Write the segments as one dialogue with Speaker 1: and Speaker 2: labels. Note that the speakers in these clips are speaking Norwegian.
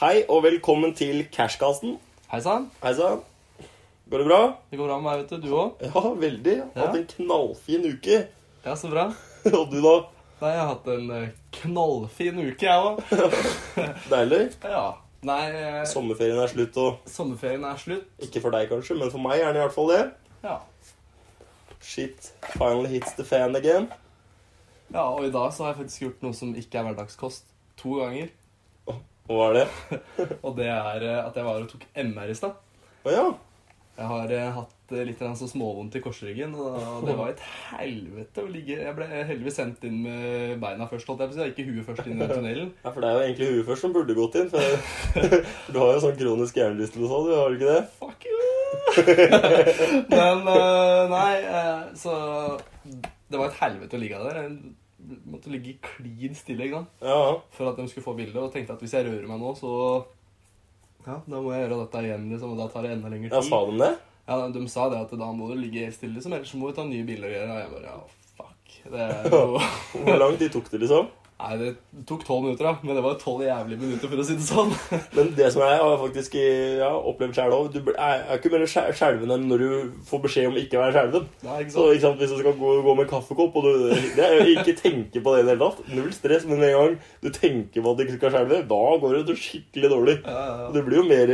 Speaker 1: Hei og velkommen til Cashcasten.
Speaker 2: Hei sann.
Speaker 1: Hei sann. Går det bra?
Speaker 2: Det går bra med meg, vet du. Du òg?
Speaker 1: Ja, veldig. Hatt en knallfin uke.
Speaker 2: Ja, så bra.
Speaker 1: Og du, da?
Speaker 2: Nei, jeg har hatt en eh, knallfin uke, jeg òg.
Speaker 1: Deilig?
Speaker 2: Ja. Nei, eh,
Speaker 1: Sommerferien er slutt, og
Speaker 2: sommerferien er slutt.
Speaker 1: ikke for deg kanskje, men for meg er den i hvert fall det.
Speaker 2: Ja.
Speaker 1: Shit finally hits the fan again.
Speaker 2: ja. Og i dag så har jeg faktisk gjort noe som ikke er hverdagskost. To ganger.
Speaker 1: Hva er det?
Speaker 2: Og det er eh, at jeg var og tok MR i stad.
Speaker 1: Å ja.
Speaker 2: Jeg har eh, hatt eh, litt grann så småvondt i korsryggen, og det var et helvete å ligge Jeg ble heldigvis sendt inn med beina først, holdt jeg på å si. Ikke huet først inn i tunnelen.
Speaker 1: ja. For det er jo egentlig huet først som burde gått inn. For du har jo sånn kronisk hjernerystelse og sånn, har du ikke det?
Speaker 2: Fuck you! Men eh, nei, eh, så Det var et helvete å ligge der. Jeg måtte ligge klin stille ikke sant?
Speaker 1: Ja.
Speaker 2: for at de skulle få bildet, og tenkte at hvis jeg rører meg nå, så ja, da må jeg gjøre dette igjen, liksom, og da tar det enda lengre
Speaker 1: ja,
Speaker 2: tid.
Speaker 1: sa de det?
Speaker 2: Ja, de sa det at da må du ligge helt stille, liksom, ellers må vi ta nye bilder og gjøre det. Og jeg bare ja, fuck. Det er jo
Speaker 1: Hvor lang tid tok det, liksom?
Speaker 2: Nei, det tok tolv minutter, da. Men det var tolv jævlige minutter, for å si det sånn.
Speaker 1: Men det som jeg har faktisk ja, opplevd sjæl òg Du bl- er er ikke mer skje- skjelven enn når du får beskjed om ikke å være skjelven.
Speaker 2: Nei, ikke
Speaker 1: Så
Speaker 2: sant?
Speaker 1: ikke sant, Hvis du skal gå, gå med kaffekopp og du det er jo ikke tenke på det i det hele tatt Null stress, men med en gang du tenker på at du ikke skal skjelve, da går det jo skikkelig dårlig.
Speaker 2: Ja, ja, ja.
Speaker 1: Og Du blir jo mer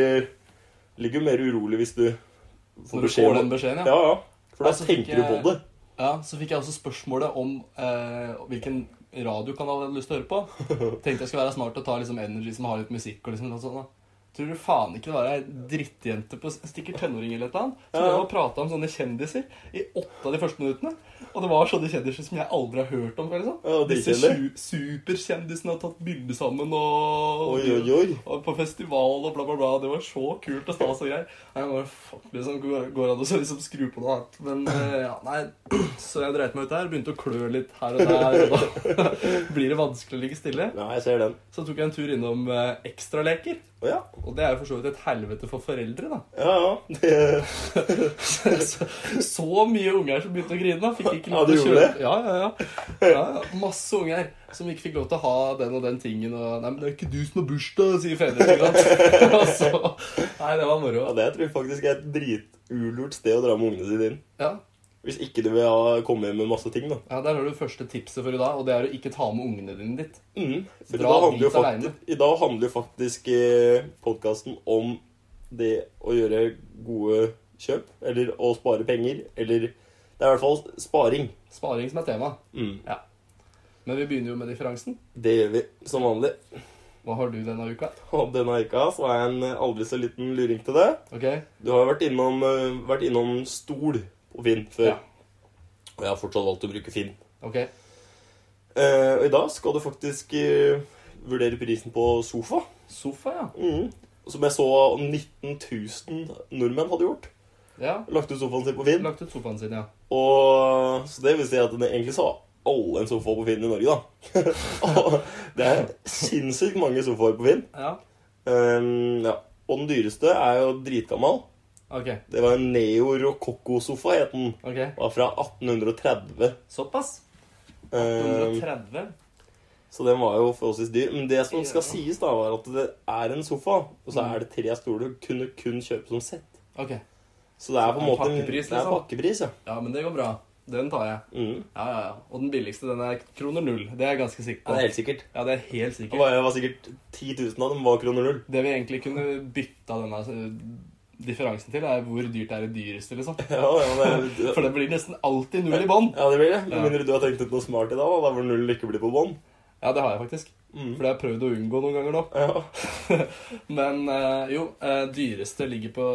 Speaker 1: ligger jo mer urolig hvis du
Speaker 2: Når du får
Speaker 1: om-
Speaker 2: den beskjeden, ja.
Speaker 1: Ja, ja. For da
Speaker 2: Altså,
Speaker 1: tenker du
Speaker 2: fikk
Speaker 1: på
Speaker 2: jeg-
Speaker 1: det.
Speaker 2: Ja, så fikk jeg også spørsmålet om eh, hvilken radiokanal jeg hadde lyst til å høre på. Tenkte jeg skulle være smart og ta liksom Energy som har litt musikk og liksom noe sånt. da. Tror du faen ikke det var ei drittjente på stikker tenåring eller et eller annet, som
Speaker 1: Ja.
Speaker 2: ja. prata om sånne kjendiser i åtte av de første minuttene? Og det var sånne kjendiser som jeg aldri har hørt om før. liksom.
Speaker 1: Ja, det er
Speaker 2: Disse
Speaker 1: kjedelig.
Speaker 2: su- superkjendisene har tatt bilde sammen og
Speaker 1: Oi, oi, oi.
Speaker 2: og på festival og bla, bla, bla. Det var så kult og stas og greier. Nei, jeg bare, fuck, liksom, går går det an å så liksom skru på noe annet? Men eh, ja, nei, så jeg dreit meg ut der. Begynte å klø litt her og der. Og da blir det vanskelig å ligge stille.
Speaker 1: Ja, jeg ser den.
Speaker 2: Så tok jeg en tur innom eh, ekstraleker.
Speaker 1: Å ja.
Speaker 2: Og det er jo for så vidt et helvete for foreldre, da.
Speaker 1: Ja, ja. Det,
Speaker 2: Så, så mye unger som begynte å grine. da, Fikk ikke
Speaker 1: Ja,
Speaker 2: lov
Speaker 1: du
Speaker 2: til å
Speaker 1: gjorde
Speaker 2: kjøpe.
Speaker 1: det?
Speaker 2: Ja, ja, ja. ja, ja. Masse unger som ikke fikk lov til å ha den og den tingen. Og, 'Nei, men det er ikke du som har bursdag', sier fedrene. ikke sant? Og så- Nei, det var moro.
Speaker 1: ja, det tror jeg faktisk er et dritulurt sted å dra med ungene sine inn.
Speaker 2: Ja.
Speaker 1: Hvis ikke du vil ha, komme hjem med masse ting, da.
Speaker 2: ja, Der har du første tipset for i dag, og det er å ikke ta med ungene dine dit.
Speaker 1: Mm. For i
Speaker 2: Dra
Speaker 1: dag, handler jo
Speaker 2: dit
Speaker 1: faktisk, I dag handler jo faktisk eh, podkasten om det å gjøre gode kjøp, eller å spare penger, eller Det er i hvert fall sparing.
Speaker 2: Sparing som er tema.
Speaker 1: Mm.
Speaker 2: Ja. Men vi begynner jo med differansen.
Speaker 1: Det gjør vi som vanlig.
Speaker 2: Hva har du denne uka?
Speaker 1: Og denne uka så er jeg en eh, aldri så liten luring til det.
Speaker 2: Ok?
Speaker 1: Du har jo vært innom, eh, vært innom stol på Finn før.
Speaker 2: Ja.
Speaker 1: Og jeg har fortsatt valgt å bruke Finn.
Speaker 2: Ok.
Speaker 1: Eh, og i dag skal du faktisk eh, vurdere prisen på sofa.
Speaker 2: Sofa, ja.
Speaker 1: Mm. Som jeg så 19 000 nordmenn hadde gjort.
Speaker 2: Ja.
Speaker 1: Lagt ut sofaen sin på Finn.
Speaker 2: Lagt ut sofaen sin, ja.
Speaker 1: Og Så det vil si at det egentlig så har alle en sofa på Finn i Norge, da. Og det er sinnssykt mange sofaer på Finn.
Speaker 2: Ja.
Speaker 1: Ehm, ja. Og den dyreste er jo dritgammal.
Speaker 2: Ok.
Speaker 1: Det var en Neo Rococo-sofa, het den.
Speaker 2: ok.
Speaker 1: Var fra 1830.
Speaker 2: Såpass.
Speaker 1: Ehm,
Speaker 2: 130.
Speaker 1: så den var jo forholdsvis dyr. Men det som skal
Speaker 2: Ja.
Speaker 1: sies, da, var at det er en sofa, og så er det tre stoler du kunne kun kjøpe som sett.
Speaker 2: Ok.
Speaker 1: Så det er på en
Speaker 2: En
Speaker 1: måte en-
Speaker 2: pakkepris,
Speaker 1: Det er
Speaker 2: liksom.
Speaker 1: pakkepris, ja.
Speaker 2: Ja, men det går bra. Den tar jeg.
Speaker 1: Mm.
Speaker 2: Ja, ja, ja. Og den billigste, den er kroner null. Det er jeg ganske sikker
Speaker 1: Ja, det er
Speaker 2: på.
Speaker 1: helt sikkert.
Speaker 2: Ja, det er helt
Speaker 1: Det
Speaker 2: sikkert.
Speaker 1: var, det var sikkert 10 000 av dem var kroner null.
Speaker 2: Det vi egentlig kunne bytta denne eh, differansen til, er hvor dyrt er det dyreste, liksom.
Speaker 1: Ja, ja, det,
Speaker 2: For det blir nesten alltid null i bånn.
Speaker 1: ja, det blir det. Med
Speaker 2: Ja.
Speaker 1: mindre du har tenkt ut noe smart i dag, da, da hvor null ikke blir på bånn.
Speaker 2: Ja, det har jeg faktisk.
Speaker 1: Mm.
Speaker 2: For det har jeg prøvd å unngå noen ganger nå.
Speaker 1: Ja.
Speaker 2: Men eh, jo, eh, dyreste ligger på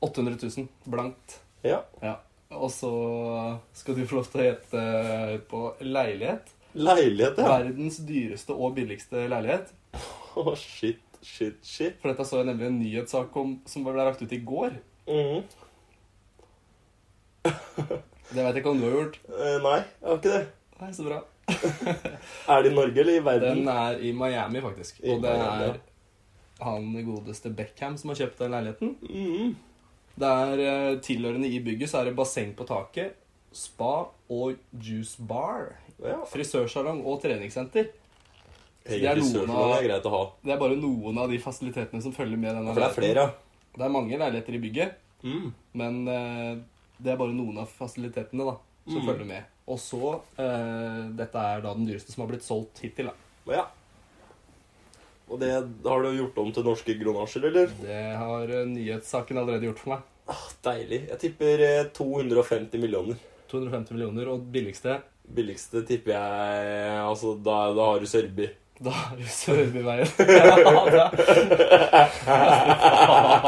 Speaker 2: 800 000 blankt.
Speaker 1: ja.
Speaker 2: Ja. Og så skal du få lov til å gjette eh, på leilighet.
Speaker 1: Leilighet, ja.
Speaker 2: Verdens dyreste og billigste leilighet.
Speaker 1: Å, shit, shit, shit.
Speaker 2: For dette så jeg nemlig en nyhetssak om som ble lagt ut i går.
Speaker 1: Mm.
Speaker 2: Det vet jeg ikke om du har gjort.
Speaker 1: Eh, nei, jeg har ikke det.
Speaker 2: Nei, så bra.
Speaker 1: Er det i Norge eller i verden?
Speaker 2: Den er i Miami, faktisk.
Speaker 1: I
Speaker 2: Og det
Speaker 1: Miami, ja.
Speaker 2: er han godeste Beckham som har kjøpt den leiligheten.
Speaker 1: Mm.
Speaker 2: Det er eh, tilhørende i bygget, så er det basseng på taket, spa og juice bar.
Speaker 1: Ja.
Speaker 2: Frisørsalong og treningssenter. det er
Speaker 1: Penger til
Speaker 2: noen
Speaker 1: Sør-Sudan
Speaker 2: av-
Speaker 1: er greit å ha.
Speaker 2: Det er bare noen av de fasilitetene som følger med denne
Speaker 1: For det er flere, ja.
Speaker 2: leiligheten. Det er mange leiligheter i bygget,
Speaker 1: Mm.
Speaker 2: men eh, det er bare noen av fasilitetene da, som
Speaker 1: Mm.
Speaker 2: følger med. Og så eh, Dette er da den dyreste som har blitt solgt hittil. da.
Speaker 1: Og ja. Og det har du gjort om til norske kronasjer, eller?
Speaker 2: Det har eh, nyhetssaken allerede gjort for meg.
Speaker 1: Ah, deilig. Jeg tipper eh, 250 millioner.
Speaker 2: 250 millioner, og billigste
Speaker 1: Billigste tipper jeg Altså, da, da har du Sørby.
Speaker 2: Da er det Sørbyveien. ja, det er-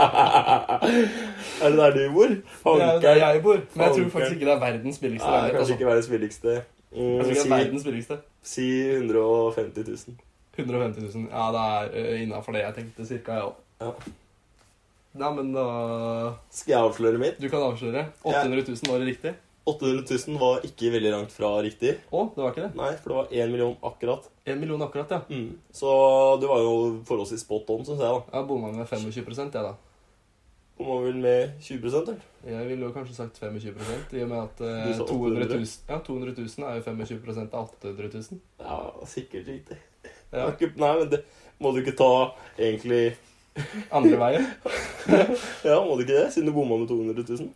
Speaker 1: Er det der du bor?
Speaker 2: det er jo der jeg bor. Men jeg tror
Speaker 1: Fankeren.
Speaker 2: faktisk ikke det er verdens billigste
Speaker 1: Nei,
Speaker 2: leilighet.
Speaker 1: kanskje
Speaker 2: Altså.
Speaker 1: ikke verdens billigste. Mm,
Speaker 2: Jeg tror ikke det er
Speaker 1: si,
Speaker 2: verdens billigste.
Speaker 1: si 150 000.
Speaker 2: 150 000. Ja, det er eh, innafor det jeg tenkte cirka, jeg òg.
Speaker 1: Ja.
Speaker 2: Nei, men da
Speaker 1: Skal jeg avsløre mitt?
Speaker 2: Du kan avsløre. 800 000 var det riktig?
Speaker 1: 800 000 var ikke veldig langt fra riktig.
Speaker 2: Å, det var ikke det?
Speaker 1: Nei, for det var 1 million akkurat.
Speaker 2: 1 million akkurat, ja.
Speaker 1: Mm. Så du var jo forholdsvis spot on, syns jeg. da.
Speaker 2: Jeg bomma med 25 jeg, da.
Speaker 1: Hvor mange vil med 20 eller?
Speaker 2: Jeg ville jo kanskje sagt 25 i og med at eh,
Speaker 1: Du sa
Speaker 2: 200 000, ja, 200 000 er jo 25 av 800 000.
Speaker 1: Ja, sikkert riktig. Det
Speaker 2: Ja,
Speaker 1: var ikke- Nei, men det må du ikke ta egentlig
Speaker 2: andre veien.
Speaker 1: Ja, må du ikke det? Siden du bomma med 200 000?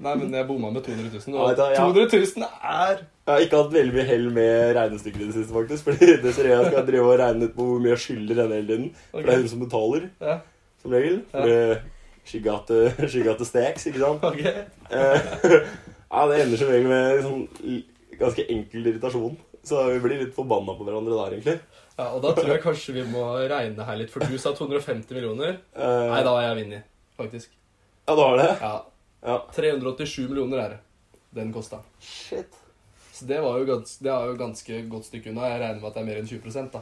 Speaker 2: Nei, men jeg bomma med 200 000.
Speaker 1: Nei,
Speaker 2: Og
Speaker 1: da, ja.
Speaker 2: 200 000 er
Speaker 1: Jeg har ikke hatt veldig mye hell med regnestykket i det siste, faktisk. Fordi det ser jeg skal drive og regne ut på hvor mye jeg skylder henne hele tiden. For det er
Speaker 2: Ok.
Speaker 1: hun som betaler,
Speaker 2: Ja,
Speaker 1: som regel. For eh, she got the, she got the stacks, ikke sant?
Speaker 2: ok.
Speaker 1: Eh, ja, det ender som regel med en sånn l- ganske enkel irritasjon. Så vi blir litt forbanna på hverandre der, egentlig.
Speaker 2: Ja, og da tror jeg kanskje vi må regne her litt, for du sa 250 millioner.
Speaker 1: Eh,
Speaker 2: Nei, da har jeg vunnet, faktisk.
Speaker 1: Ja, du har det?
Speaker 2: Ja.
Speaker 1: Ja.
Speaker 2: 387 millioner er det. Den kosta.
Speaker 1: Shit.
Speaker 2: Så det var jo ganske, det er jo ganske godt stykke unna. Jeg regner med at det er mer enn 20 da.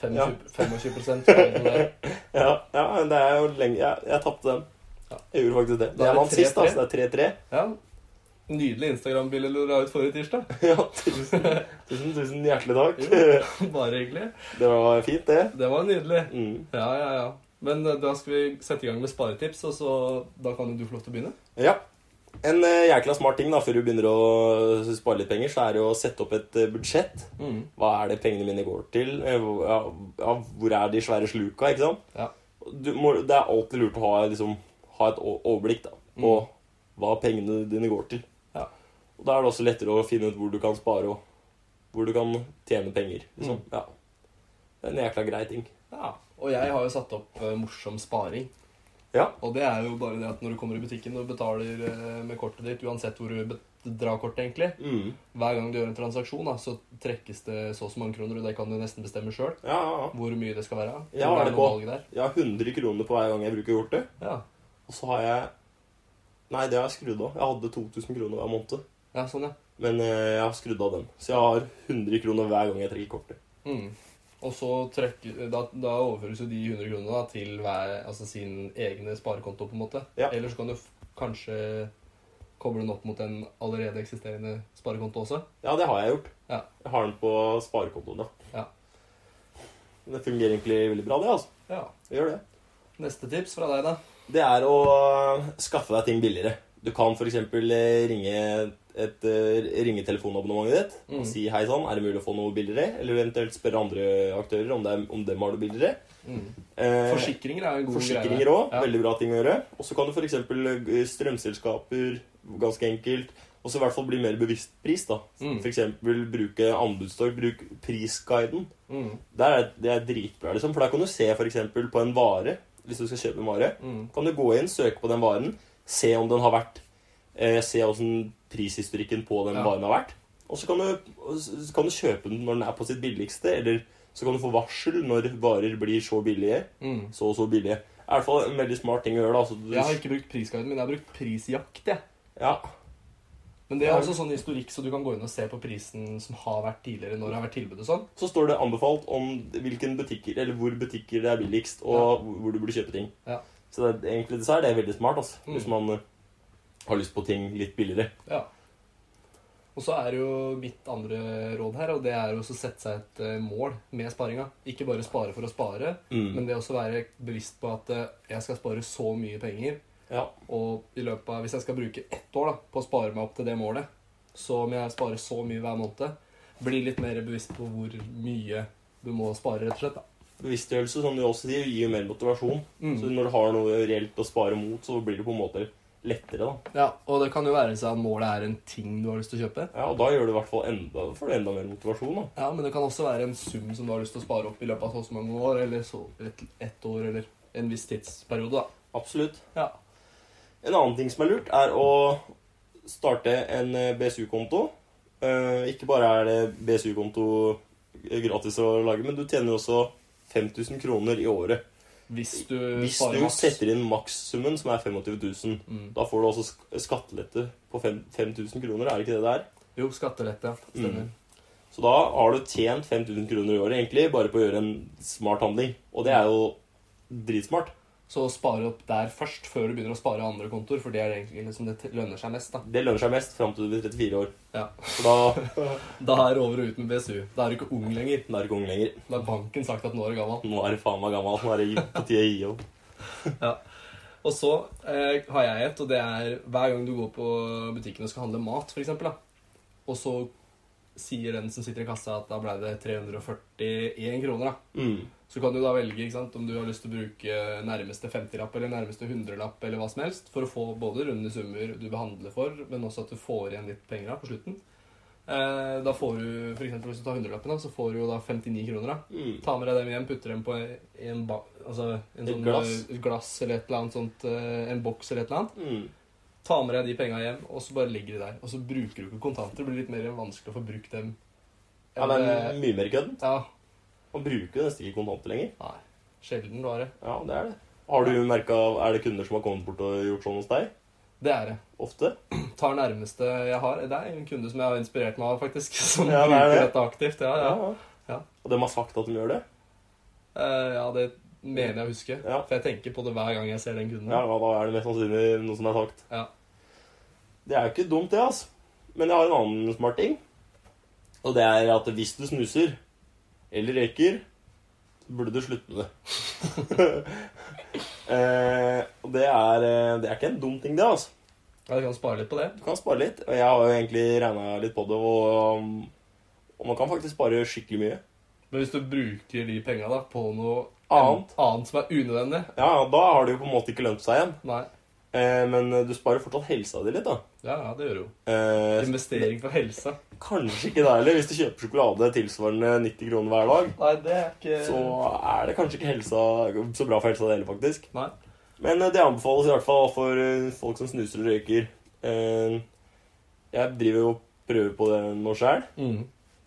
Speaker 2: 25,
Speaker 1: Ja.
Speaker 2: 25 var det der.
Speaker 1: Ja, ja men det er jo lenge Jeg, jeg tapte den.
Speaker 2: Ja.
Speaker 1: Jeg gjorde faktisk det.
Speaker 2: Da er
Speaker 1: Det er
Speaker 2: det
Speaker 1: vant sist,
Speaker 2: 3-3.
Speaker 1: altså. Det er 3-3.
Speaker 2: Ja. Nydelig Instagram-bilde du la ut forrige tirsdag.
Speaker 1: Ja, tusen, tusen, tusen hjertelig takk.
Speaker 2: Bare hyggelig.
Speaker 1: Det var fint, det.
Speaker 2: Det var nydelig.
Speaker 1: Mm.
Speaker 2: Ja, ja, ja. Men eh, da skal vi sette i gang med sparetips, og så da kan jo du få lov til å begynne.
Speaker 1: Ja. En eh, jækla smart ting da, før du begynner å spare litt penger, så er det å sette opp et eh, budsjett. Hva er det pengene mine går til? Eh, hvor- Ja, ja, hvor er de svære sluka, ikke sant?
Speaker 2: Ja.
Speaker 1: Du må, det er alltid lurt å ha, liksom, ha et o- overblikk da, på
Speaker 2: Mm.
Speaker 1: hva pengene dine går til.
Speaker 2: Ja.
Speaker 1: Og da er det også lettere å finne ut hvor du kan spare og hvor du kan tjene penger. Liksom.
Speaker 2: Mm.
Speaker 1: Ja. Det er en jækla grei ting.
Speaker 2: Ja, og jeg har jo satt opp eh, morsom sparing.
Speaker 1: Ja.
Speaker 2: Og det er jo bare det at når du kommer i butikken og betaler eh, med kortet ditt, uansett hvor du bet- drar kortet egentlig,
Speaker 1: Mm.
Speaker 2: hver gang du gjør en transaksjon, da, så trekkes det så og så mange kroner, og det kan du nesten bestemme sjøl
Speaker 1: Ja, ja, ja.
Speaker 2: hvor mye det skal være.
Speaker 1: Ja,
Speaker 2: Om
Speaker 1: er det
Speaker 2: noe
Speaker 1: på?
Speaker 2: valg der.
Speaker 1: Jeg har 100 kroner på hver gang jeg bruker kortet.
Speaker 2: Ja.
Speaker 1: Og så har jeg Nei, det har jeg skrudd av. Jeg hadde 2000 kroner hver måned.
Speaker 2: ja, sånn, ja.
Speaker 1: Men eh, jeg har skrudd av den. Så jeg har 100 kroner hver gang jeg trekker kortet.
Speaker 2: Mm. Og så trekker, da, da overføres jo de 100 kronene da, til hver, altså sin egne sparekonto, på en måte.
Speaker 1: Ja.
Speaker 2: Eller så kan du f kanskje koble den opp mot en allerede eksisterende sparekonto også.
Speaker 1: Ja, det har jeg gjort.
Speaker 2: Ja.
Speaker 1: Jeg har den på sparekontoen,
Speaker 2: Ja.
Speaker 1: Men Det fungerer egentlig veldig bra, det. altså.
Speaker 2: Ja.
Speaker 1: Det gjør det.
Speaker 2: Neste tips fra deg, da?
Speaker 1: Det er å eh, skaffe deg ting billigere. Du kan f.eks. ringe et eh, ringetelefonabonnementet ditt
Speaker 2: Mm.
Speaker 1: og si hei sann, er det mulig å få noe billigere? Eller eventuelt spørre andre aktører om, det er, om dem har noe billigere. Eh,
Speaker 2: Forsikringer er jo en god
Speaker 1: Forsikringer
Speaker 2: greie.
Speaker 1: òg.
Speaker 2: Mm. Ja.
Speaker 1: Veldig bra ting å gjøre. Og så kan du f.eks. eh, strømselskaper, ganske enkelt. Og så i hvert fall bli mer bevisst pris, da.
Speaker 2: Mm.
Speaker 1: For F.eks. bruke anbudstorg, bruk prisguiden.
Speaker 2: Mm,
Speaker 1: Der er, det er dritbra, liksom. For der kan du se f.eks. på en vare, hvis du skal kjøpe en vare.
Speaker 2: mm,
Speaker 1: Kan du gå inn, søke på den varen, se om den har vært eh, Se åssen prishistorikken på den
Speaker 2: Ja.
Speaker 1: varen har vært. Og så kan du, så kan du kjøpe den når den er på sitt billigste, eller så kan du få varsel når varer blir så billige
Speaker 2: mm.
Speaker 1: så og så billig. Det er i hvert fall en veldig smart ting å gjøre. da. Så du,
Speaker 2: Jeg har ikke brukt prisguiden min, jeg har brukt prisjakt. jeg.
Speaker 1: ja,
Speaker 2: Men det er også sånn historikk, så du kan gå inn og se på prisen som har vært tidligere. når det har vært tilbud og sånn.
Speaker 1: så står det anbefalt om hvilken butikker, eller hvor butikker det er billigst, og
Speaker 2: Ja.
Speaker 1: hvor- hvor du burde kjøpe ting.
Speaker 2: Ja.
Speaker 1: Så det, er- egentlig så er det veldig smart altså,
Speaker 2: Mm.
Speaker 1: hvis man eh, har lyst på ting litt billigere.
Speaker 2: Ja. Og så er det jo mitt andre råd her, og det er jo også å sette seg et eh, mål med sparinga. Ikke bare spare for å spare, men
Speaker 1: Mm.
Speaker 2: det også være bevisst på at eh, jeg skal spare så mye penger,
Speaker 1: Ja.
Speaker 2: og i løpet av, hvis jeg skal bruke ett år da, på å spare meg opp til det målet, så må jeg spare så mye hver måned. bli litt mer bevisst på hvor mye du må spare, rett og slett. da.
Speaker 1: Bevisstgjørelse, som du også sier, gir jo mer motivasjon.
Speaker 2: Mm.
Speaker 1: Så når du har noe reelt å spare mot, så blir det på en måte lettere, da.
Speaker 2: Ja, Og det kan jo være sånn at målet er en ting du har lyst til å kjøpe.
Speaker 1: Ja, og da gjør du i hvert fall enda, får du enda mer motivasjon, da.
Speaker 2: Ja, Men det kan også være en sum som du har lyst til å spare opp i løpet av så og så mange år, eller så et, ett år, eller en viss tidsperiode. da.
Speaker 1: Absolutt.
Speaker 2: Ja.
Speaker 1: En annen ting som er lurt, er å starte en eh, BSU-konto. Eh, ikke bare er det BSU-konto gratis å lage, men du tjener jo også 5000 kroner i året.
Speaker 2: Hvis du
Speaker 1: Hvis
Speaker 2: sparer
Speaker 1: du
Speaker 2: Eh, maks.
Speaker 1: setter inn makssummen, som er 25 000,
Speaker 2: Mm.
Speaker 1: da får du også sk- skattelette på fem- 5000 kroner, er det ikke det det er?
Speaker 2: Jo, skattelette. ja. Stemmer.
Speaker 1: Mm. Så da har du tjent 5000 kroner i året egentlig bare på å gjøre en smart handling. Og det er jo dritsmart.
Speaker 2: Så spare opp der først, før du begynner å spare i andre kontoer, for det er egentlig liksom det t- lønner seg mest. da.
Speaker 1: Det lønner seg mest fram til du blir 34 år.
Speaker 2: Ja.
Speaker 1: For da
Speaker 2: Da er det over og ut med BSU. Da er du ikke ung lenger.
Speaker 1: da er du ikke ung lenger.
Speaker 2: Da har banken sagt at nå er du gammel.
Speaker 1: Nå er du faen meg gammel. Nå er det på tide å gi opp.
Speaker 2: Og så eh, har jeg et, og det er hver gang du går på butikken og skal handle mat, for eksempel, da, og så sier den som sitter i kassa at da ble det 341 kroner, da.
Speaker 1: Mm.
Speaker 2: Så kan du da velge ikke sant, om du har lyst til å bruke nærmeste 50-lapp eller nærmeste 100-lapp eller hva som helst for å få både runde summer du behandler for, men også at du får igjen litt penger da på slutten. Eh, da får du, for eksempel hvis du tar 100-lappen, da, så får du jo da 59 kroner. da.
Speaker 1: Mm.
Speaker 2: Ta med deg dem hjem, putter dem på en, en ba, altså en
Speaker 1: Et
Speaker 2: sånn,
Speaker 1: glass?
Speaker 2: eh, glass eller et eller annet sånt, eh, en boks eller et eller annet.
Speaker 1: Mm.
Speaker 2: Ta med deg de penga hjem, og så bare ligger de der. Og så bruker du ikke kontanter. Det blir litt mer vanskelig å få brukt dem.
Speaker 1: Ja, det
Speaker 2: Eh,
Speaker 1: er mye mer kødd.
Speaker 2: ja,
Speaker 1: Man bruker jo nesten ikke kontanter lenger.
Speaker 2: nei. Sjelden bare.
Speaker 1: Ja, det er det. Har du merka Er det kunder som har kommet bort og gjort sånn hos deg?
Speaker 2: Det er det.
Speaker 1: Ofte?
Speaker 2: Tar nærmeste jeg har. Det er en kunde som jeg har inspirert meg av, faktisk. Som
Speaker 1: Ja, det er
Speaker 2: bruker
Speaker 1: det.
Speaker 2: dette aktivt. Ja, ja. Ja.
Speaker 1: Og dem har sagt at de gjør det?
Speaker 2: Eh, ja, det mener jeg å huske.
Speaker 1: Ja.
Speaker 2: For jeg tenker på det hver gang jeg ser den kunden.
Speaker 1: Ja, ja, da er det mest sannsynlig noe som er sagt.
Speaker 2: Ja.
Speaker 1: Det er jo ikke dumt, det, altså. Men jeg har en annen smart ting. Og det er at hvis du snuser eller røyker, så burde du slutte med det. eh, og det er, eh, det er ikke en dum ting, det, altså.
Speaker 2: Ja, du kan spare litt på det.
Speaker 1: Du kan spare litt. Og jeg har jo egentlig regna litt på det, og, og man kan faktisk spare skikkelig mye.
Speaker 2: Men hvis du bruker de penga da, på noe
Speaker 1: Annet.
Speaker 2: annet som er unødvendig
Speaker 1: Ja, da har det jo på en måte ikke lønt seg igjen.
Speaker 2: Nei.
Speaker 1: Eh, men du sparer fortsatt helsa di litt, da.
Speaker 2: Ja, ja, det gjør du jo.
Speaker 1: Eh,
Speaker 2: Investering for helse.
Speaker 1: Kanskje ikke det heller. Hvis du kjøper sjokolade tilsvarende 90 kroner hver dag,
Speaker 2: Nei, det er ikke
Speaker 1: så er det kanskje ikke helsa, så bra for helsa det heller, faktisk.
Speaker 2: Nei.
Speaker 1: Men eh, det anbefales i hvert fall for eh, folk som snuser og røyker. Eh, Jeg driver jo og prøver på det nå sjøl,
Speaker 2: Mm.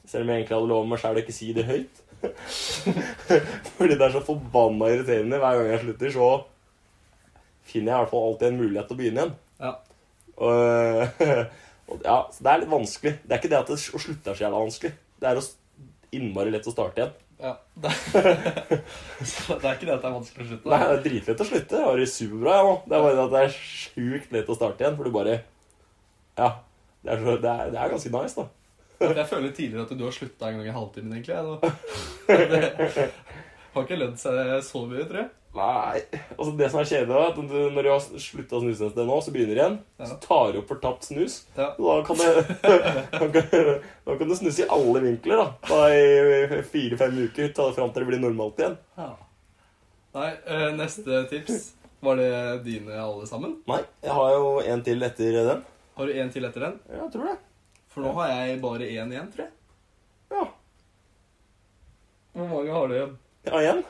Speaker 1: selv om jeg egentlig hadde lova meg sjæl å ikke si det høyt. Fordi det er så forbanna irriterende. Hver gang jeg slutter, så finner jeg i hvert fall alltid en mulighet til å begynne igjen.
Speaker 2: Ja.
Speaker 1: Og, og, ja, så det er litt vanskelig. Det er ikke det at det å slutte er så jævla vanskelig. Det er å s- innmari lett å starte igjen.
Speaker 2: ja. Det, så det er ikke det at det er vanskelig å slutte.
Speaker 1: Nei,
Speaker 2: da.
Speaker 1: det er dritlett å slutte. Jeg har det superbra jeg nå. Det er bare det at det er sjukt lett å starte igjen, for du bare Ja. Det er, så, det er, det er ganske nice, da.
Speaker 2: Jeg føler tidligere at du har slutta en gang i halvtimen, egentlig. jeg, nå. Det har ikke lønt seg så mye, tror jeg.
Speaker 1: Nei. Altså Det som er kjedelig, er at du, når du har slutta å snuse et sted nå, så begynner du igjen. Så tar du opp for tapt snus.
Speaker 2: Ja.
Speaker 1: Da kan, det, da, kan, da kan du snuse i alle vinkler da. da i fire-fem uker ta det fram til det blir normalt igjen.
Speaker 2: Ja. Nei, eh, neste tips. Var det dine alle sammen?
Speaker 1: Nei, jeg har jo en til etter den.
Speaker 2: Har du én til etter den?
Speaker 1: Ja, jeg tror det.
Speaker 2: For nå har jeg bare én igjen, tror jeg.
Speaker 1: Ja,
Speaker 2: Hvor mange har du igjen?
Speaker 1: jeg har en.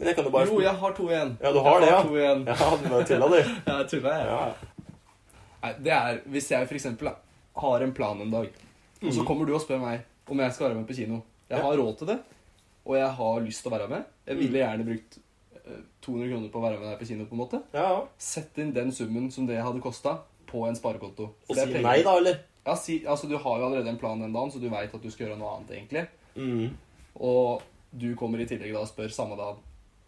Speaker 1: Men jeg kan jo bare
Speaker 2: Jo, jeg har to igjen.
Speaker 1: Ja, du har det,
Speaker 2: jeg
Speaker 1: ja.
Speaker 2: har to igjen.
Speaker 1: Ja, du bare tulla, du.
Speaker 2: Jeg tulla, jeg.
Speaker 1: Ja.
Speaker 2: Nei, det er Hvis jeg for eksempel da, har en plan en dag, og så kommer du og spør meg om jeg skal være med på kino.
Speaker 1: Mhm. Ja.
Speaker 2: Jeg
Speaker 1: Mhm.
Speaker 2: har råd til det, og jeg har lyst til å være med. Jeg ville gjerne brukt eh, 200 kroner på å være med deg på kino. på en måte.
Speaker 1: ja.
Speaker 2: Sett inn den summen som det hadde kosta, på en sparekonto. For
Speaker 1: Og
Speaker 2: det er
Speaker 1: si
Speaker 2: penger.
Speaker 1: nei, da, eller?
Speaker 2: Ja, si, altså, du har jo allerede en plan den dagen, så du veit at du skal gjøre noe annet. egentlig.
Speaker 1: Mm.
Speaker 2: Og du kommer i tillegg da og spør samme dag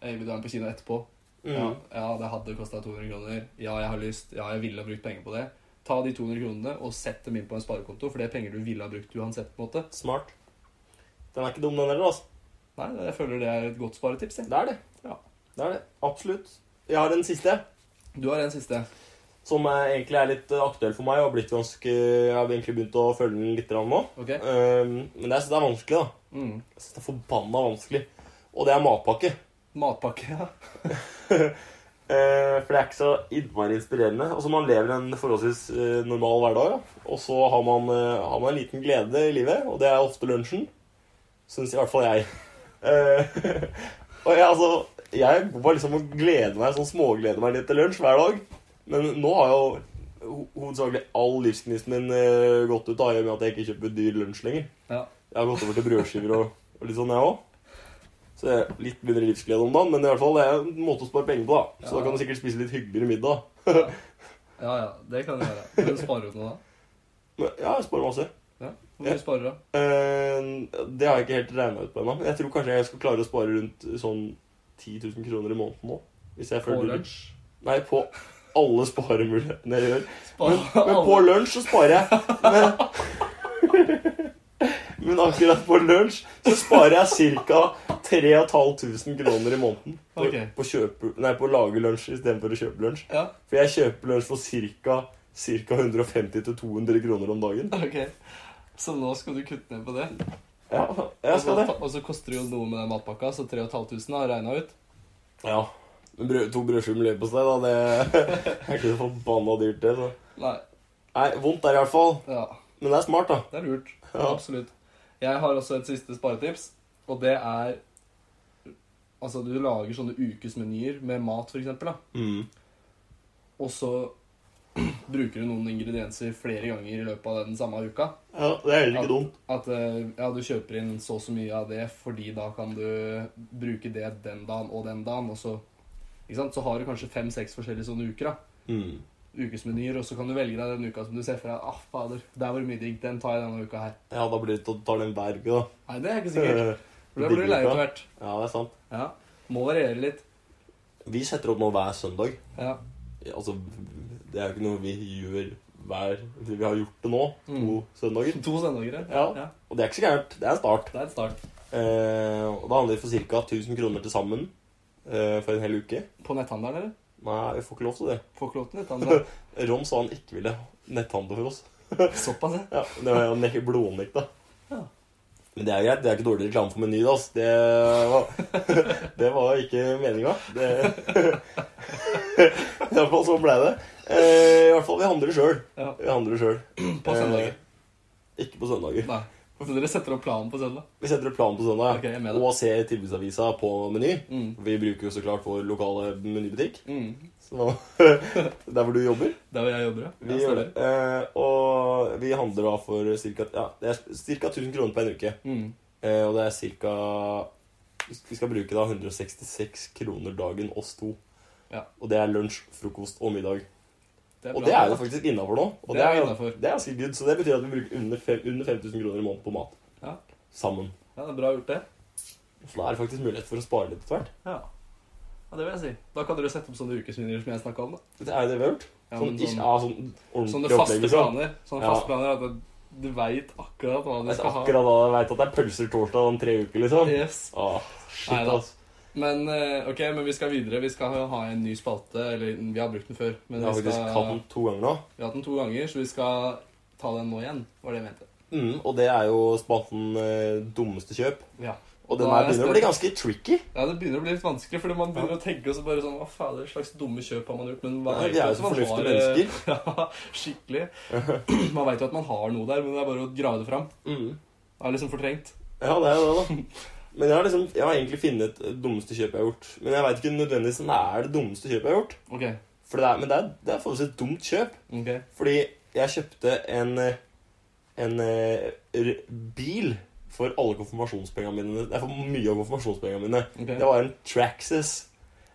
Speaker 2: «Hey, vil du være med på kino etterpå.
Speaker 1: Mm.
Speaker 2: Ja, ja, det hadde kosta 200 kroner. Ja, jeg har lyst. Ja, jeg ville ha brukt penger på det. Ta de 200 kronene og sett dem inn på en sparekonto, for det er penger du ville ha brukt uansett. på en måte.
Speaker 1: Smart. Den er ikke dum, den heller, altså.
Speaker 2: Nei, jeg føler det er et godt sparetips. jeg.
Speaker 1: Det er det.
Speaker 2: Ja.
Speaker 1: Det er det. Absolutt. Jeg har en siste.
Speaker 2: Du har en siste.
Speaker 1: som er, egentlig er litt eh, aktuell for meg. og har blitt ganske, Jeg har egentlig begynt å følge den litt grann nå.
Speaker 2: Ok?
Speaker 1: Eh, men jeg syns det er vanskelig, da.
Speaker 2: Mm.
Speaker 1: Jeg synes det er Forbanna vanskelig. Og det er matpakke.
Speaker 2: Matpakke, ja.
Speaker 1: Eh, for det er ikke så innmari inspirerende. Altså Man lever en forholdsvis eh, normal hverdag, ja. og så har man, eh, har man en liten glede i livet, og det er ofte lunsjen. Syns i hvert fall jeg. Eh, og jeg, altså, jeg går liksom og gleder meg sånn smågleder meg litt til lunsj hver dag. Men nå har jo ho- hovedsakelig all livsgnisten min eh, gått ut av i og med at jeg ikke kjøper dyr lunsj lenger.
Speaker 2: ja.
Speaker 1: Jeg har gått over til brødskiver og, og litt sånn, jeg òg. Så jeg er litt mindre livsglede om dagen, men i hvert fall det er en måte å spare penger på. da. Så
Speaker 2: Ja.
Speaker 1: da kan du sikkert spise litt hyggeligere middag.
Speaker 2: Ja, ja, det kan du gjøre. Men sparer du noe da?
Speaker 1: Men, ja, jeg sparer masse.
Speaker 2: Ja. Hvor mye
Speaker 1: Ja.
Speaker 2: sparer du? da?
Speaker 1: Eh, det har jeg ikke helt regna ut på ennå. Jeg tror kanskje jeg skal klare å spare rundt sånn 10 000 kroner i måneden nå. Hvis jeg
Speaker 2: På
Speaker 1: følger
Speaker 2: lunsj?
Speaker 1: Nei, på alle sparemulighetene jeg gjør.
Speaker 2: Sparer
Speaker 1: Men på
Speaker 2: alle-
Speaker 1: lunsj så sparer jeg. Men, men akkurat på lunsj så sparer jeg ca. 3500 kroner i måneden på,
Speaker 2: Ok.
Speaker 1: på, kjøpe, nei, på å lage lunsj istedenfor å kjøpe lunsj.
Speaker 2: Ja,
Speaker 1: For jeg kjøper lunsj for ca. 150-200 kroner om dagen.
Speaker 2: ok. Så nå skal du kutte ned på det?
Speaker 1: Ja, jeg skal det.
Speaker 2: Og så koster det jo noe med den matpakka, så 3500 har jeg regna ut.
Speaker 1: Ja. Men brød, to brødskiver med leverpostei, da, det er ikke så forbanna dyrt, det. Så.
Speaker 2: Nei,
Speaker 1: Nei, vondt er det i hvert fall.
Speaker 2: ja.
Speaker 1: Men det er smart, da.
Speaker 2: Det er lurt.
Speaker 1: Ja.
Speaker 2: Absolutt. Jeg har også et siste sparetips, og det er Altså, du lager sånne ukesmenyer med mat, for eksempel, da.
Speaker 1: Mm.
Speaker 2: Og så bruker du noen ingredienser flere ganger i løpet av den samme uka.
Speaker 1: Ja, Det er heller ikke dumt.
Speaker 2: At eh, ja, du kjøper inn så og så mye av det, fordi da kan du bruke det den dagen og den dagen, og så Ikke sant? Så har du kanskje fem-seks forskjellige sånne uker, da.
Speaker 1: Mm.
Speaker 2: Ukesmenyer, og så kan du velge deg den uka som du ser for deg. Ah, fader, der var det mye digg. Den tar jeg denne uka her.
Speaker 1: Ja, da blir det til å ta den berg, da.
Speaker 2: Nei, det er ikke sikkert. For da blir du lei etter hvert.
Speaker 1: Ja, det er sant.
Speaker 2: Ja. Må variere litt.
Speaker 1: Vi setter opp nå hver søndag.
Speaker 2: Ja.
Speaker 1: Altså, det er jo ikke noe vi gjør hver Vi har gjort det nå, to
Speaker 2: Mm.
Speaker 1: søndager.
Speaker 2: To søndager,
Speaker 1: Ja. Og det er ikke så gærent. Det er en start.
Speaker 2: Det er et start.
Speaker 1: Eh, og da handler det for ca. 1000 kroner til sammen eh, for en hel uke.
Speaker 2: På netthandelen, eller?
Speaker 1: Nei, vi får ikke lov til det.
Speaker 2: Får ikke lov til netthandel.
Speaker 1: Ron sa han ikke ville netthandle for oss.
Speaker 2: Såpass, ja.
Speaker 1: Ja, Det var jo nek- blodnekta.
Speaker 2: Ja.
Speaker 1: Men det er jo greit. Det er ikke dårlig reklame for Meny, da. ass. Det var, det var ikke meninga. Det... I hvert fall så ble det. Eh, I hvert fall vi handler sjøl.
Speaker 2: ja.
Speaker 1: Vi handler sjøl. Eh.
Speaker 2: På søndager.
Speaker 1: Ikke på søndager.
Speaker 2: Nei. Så dere setter opp planen på søndag?
Speaker 1: Vi setter opp planen på søndag
Speaker 2: Ok, jeg er med deg.
Speaker 1: og ser tilbudsavisa på Meny.
Speaker 2: Mm.
Speaker 1: Vi bruker jo så klart vår lokale menybutikk,
Speaker 2: Mm.
Speaker 1: så- der hvor du jobber.
Speaker 2: Der hvor jeg jobber, ja.
Speaker 1: Vi
Speaker 2: Ja,
Speaker 1: gjør det.
Speaker 2: stemmer.
Speaker 1: Eh, og vi handler da for ca. Ja, det er cirka 1000 kroner på en uke.
Speaker 2: Mm.
Speaker 1: Eh, og det er ca. Vi skal bruke da 166 kroner dagen oss to.
Speaker 2: Ja.
Speaker 1: Og det er lunsj, frokost og middag.
Speaker 2: Det
Speaker 1: Og det er jo faktisk innafor nå. Og
Speaker 2: Det er innenfor.
Speaker 1: det er ganske good, så det betyr at vi bruker under, fem, under 5000 kroner i måneden på mat.
Speaker 2: Ja.
Speaker 1: Sammen.
Speaker 2: Ja, det er bra gjort, det.
Speaker 1: Så da er det faktisk mulighet for å spare litt etter hvert.
Speaker 2: Ja. ja, det vil jeg si. Da kan dere sette opp sånne ukesvinner som jeg snakka om. da.
Speaker 1: Det er jo det vi har gjort.
Speaker 2: Ja,
Speaker 1: Sånn,
Speaker 2: men
Speaker 1: ikke-
Speaker 2: sånn-
Speaker 1: ja, sånn
Speaker 2: Sånne
Speaker 1: ordentlig liksom.
Speaker 2: faste
Speaker 1: oppleggelse. da.
Speaker 2: planer. Sånne
Speaker 1: Ja.
Speaker 2: faste planer er at du veit akkurat hva du
Speaker 1: Det er
Speaker 2: skal ha.
Speaker 1: akkurat da jeg veit at det er pølser torsdag om tre uker, liksom.
Speaker 2: Yes.
Speaker 1: Åh, shit,
Speaker 2: Neida.
Speaker 1: altså.
Speaker 2: Men eh, ok, men vi skal videre. Vi skal ha en ny spalte. Eller vi har brukt den før. Men
Speaker 1: Jeg har
Speaker 2: vi,
Speaker 1: faktisk
Speaker 2: skal,
Speaker 1: hatt den to ganger nå.
Speaker 2: vi har hatt den to ganger, så vi skal ta den nå igjen. Var det jeg mente.
Speaker 1: Mm, og det er jo spalten eh, dummeste kjøp.
Speaker 2: Ja.
Speaker 1: Og den
Speaker 2: Da
Speaker 1: her
Speaker 2: er jeg
Speaker 1: begynner å
Speaker 2: spent.
Speaker 1: bli ganske tricky.
Speaker 2: ja, Det begynner å bli litt vanskelig, fordi man begynner å tenke og så bare sånn Hva fader, slags dumme kjøp har man gjort? Men man
Speaker 1: Nei,
Speaker 2: vet
Speaker 1: vi er jo
Speaker 2: at
Speaker 1: så
Speaker 2: man
Speaker 1: fornuftige
Speaker 2: har, eh, Ja, skikkelig. Man veit jo at man har noe der, men det er bare å grave det fram. Det er liksom fortrengt.
Speaker 1: Mm. Ja, det er jo det, da. Men jeg har, liksom, jeg har egentlig funnet det dummeste kjøpet jeg har gjort. Men jeg veit ikke nødvendigvis om det er det dummeste kjøpet jeg har gjort.
Speaker 2: Ok.
Speaker 1: For det er, men det er, det er forholdsvis et dumt kjøp.
Speaker 2: ok.
Speaker 1: Fordi jeg kjøpte en, eh, en eh, r- bil for alle konfirmasjonspengene mine. Det er for mye av konfirmasjonspengene mine.
Speaker 2: ok.
Speaker 1: Det var en Traxxas.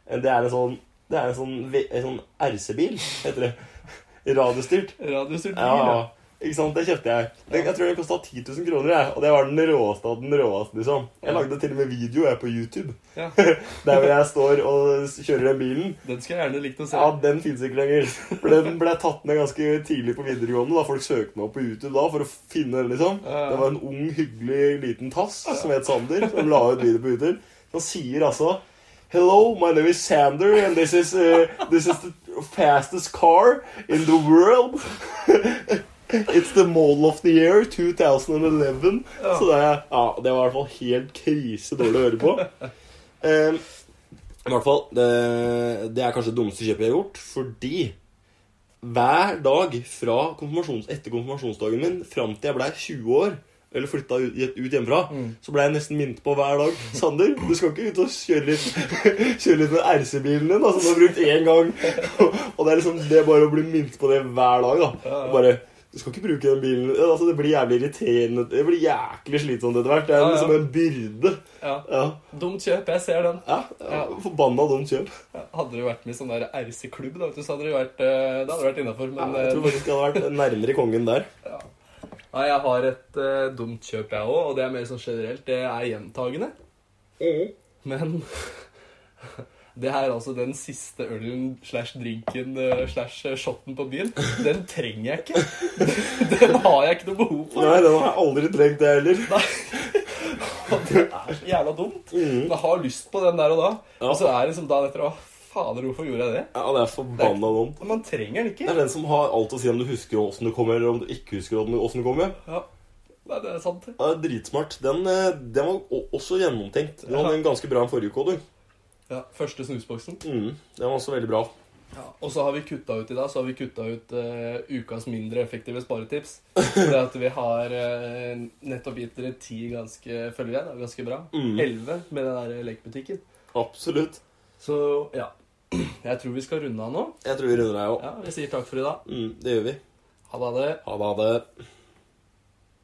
Speaker 1: Det er en sånn, det er en sånn, ve- en sånn RC-bil, heter det. Radiostyrt.
Speaker 2: Radiostyrt bil,
Speaker 1: Ja,
Speaker 2: ja.
Speaker 1: ikke sant? Det kjøpte jeg. Den, jeg tror den kosta 10 000 kroner, jeg. og det var den råeste av den råeste. liksom. Jeg lagde til og med video jeg på YouTube
Speaker 2: Ja.
Speaker 1: der hvor jeg står og s- kjører den bilen.
Speaker 2: Den skulle jeg gjerne likt å se.
Speaker 1: Ja, Den fins ikke lenger. For Den ble tatt ned ganske tidlig på videregående. da Folk søkte meg opp på YouTube da for å finne den. liksom.
Speaker 2: Ja.
Speaker 1: Det var en ung, hyggelig liten tass som het Sander, som la ut video på YouTube. Han sier altså Hello, my name is Sander, and this is, uh, this is the fastest car in the world. It's the model of the year 2011. Så det, er- ja, det var i hvert fall helt krise dårlig å høre på. Em, Ehm, I hvert fall, det, det er kanskje det dummeste kjøpet jeg har gjort, fordi hver dag fra konfirmasjons, etter konfirmasjonsdagen min fram til jeg blei 20 år, eller flytta ut, ut hjemmefra,
Speaker 2: Mm.
Speaker 1: så blei jeg nesten minnet på hver dag Sander, du skal ikke ut og kjøre litt Kjøre litt med RC-bilen din, da, som du har brukt én gang. Og det er liksom det bare å bli minnet på det hver dag. da
Speaker 2: Ja, ja.
Speaker 1: Og bare Du skal ikke bruke den bilen. Altså, det blir jævlig irriterende. Det blir jæklig slitsomt etter hvert. Det er
Speaker 2: Ja, ja.
Speaker 1: liksom en byrde.
Speaker 2: Ja.
Speaker 1: Ja.
Speaker 2: Dumt kjøp, jeg ser den.
Speaker 1: ja, ja. Forbanna dumt kjøp.
Speaker 2: Hadde du vært med i sånn der RC-klubb, da, vet du, så hadde du vært, eh, det hadde du vært innafor.
Speaker 1: Ja,
Speaker 2: Men
Speaker 1: jeg tror
Speaker 2: eh,
Speaker 1: faktisk jeg hadde vært nærmere kongen der.
Speaker 2: ja. Nei, jeg har et eh, dumt kjøp, jeg òg, og det er mer sånn generelt. Det er gjentagende. Mm. Men det her er altså den siste ølen slash drinken eh, slash shotten på byen. Den trenger jeg ikke. Den har jeg ikke noe behov for.
Speaker 1: Nei, den har jeg aldri trengt, jeg heller.
Speaker 2: Og det er så jævla dumt. Men
Speaker 1: Mhm.
Speaker 2: jeg har lyst på den der og da.
Speaker 1: Ja.
Speaker 2: Og så er det liksom dagen etter Å, fader, hvorfor gjorde jeg det?
Speaker 1: Ja, det er forbanna dumt.
Speaker 2: Men man trenger den
Speaker 1: Det
Speaker 2: ikke.
Speaker 1: er den som har alt å si om du husker åssen du kommer, eller om du ikke husker åssen du kommer.
Speaker 2: Ja. Nei, det er sant. det.
Speaker 1: Ja, dritsmart. Den, eh, den var o- også gjennomtenkt. Den hadde en ganske bra en forrige uke òg, du.
Speaker 2: Ja, Første snusboksen.
Speaker 1: Mm, den var også veldig bra.
Speaker 2: Og så har vi kutta ut i dag så har vi kutta ut eh, ukas mindre effektive sparetips. Fordi at vi har eh, nettopp gitt dere ti ganske følgere. Det er ganske bra.
Speaker 1: Mm.
Speaker 2: Elleve med den der lekebutikken.
Speaker 1: Absolutt.
Speaker 2: Så ja. Jeg tror vi skal runde av nå.
Speaker 1: Jeg tror vi runder deg òg.
Speaker 2: Ja, Vi sier takk for i dag.
Speaker 1: Mm, det gjør vi.
Speaker 2: Ha det. Ha det.
Speaker 1: Ha det. Ha det.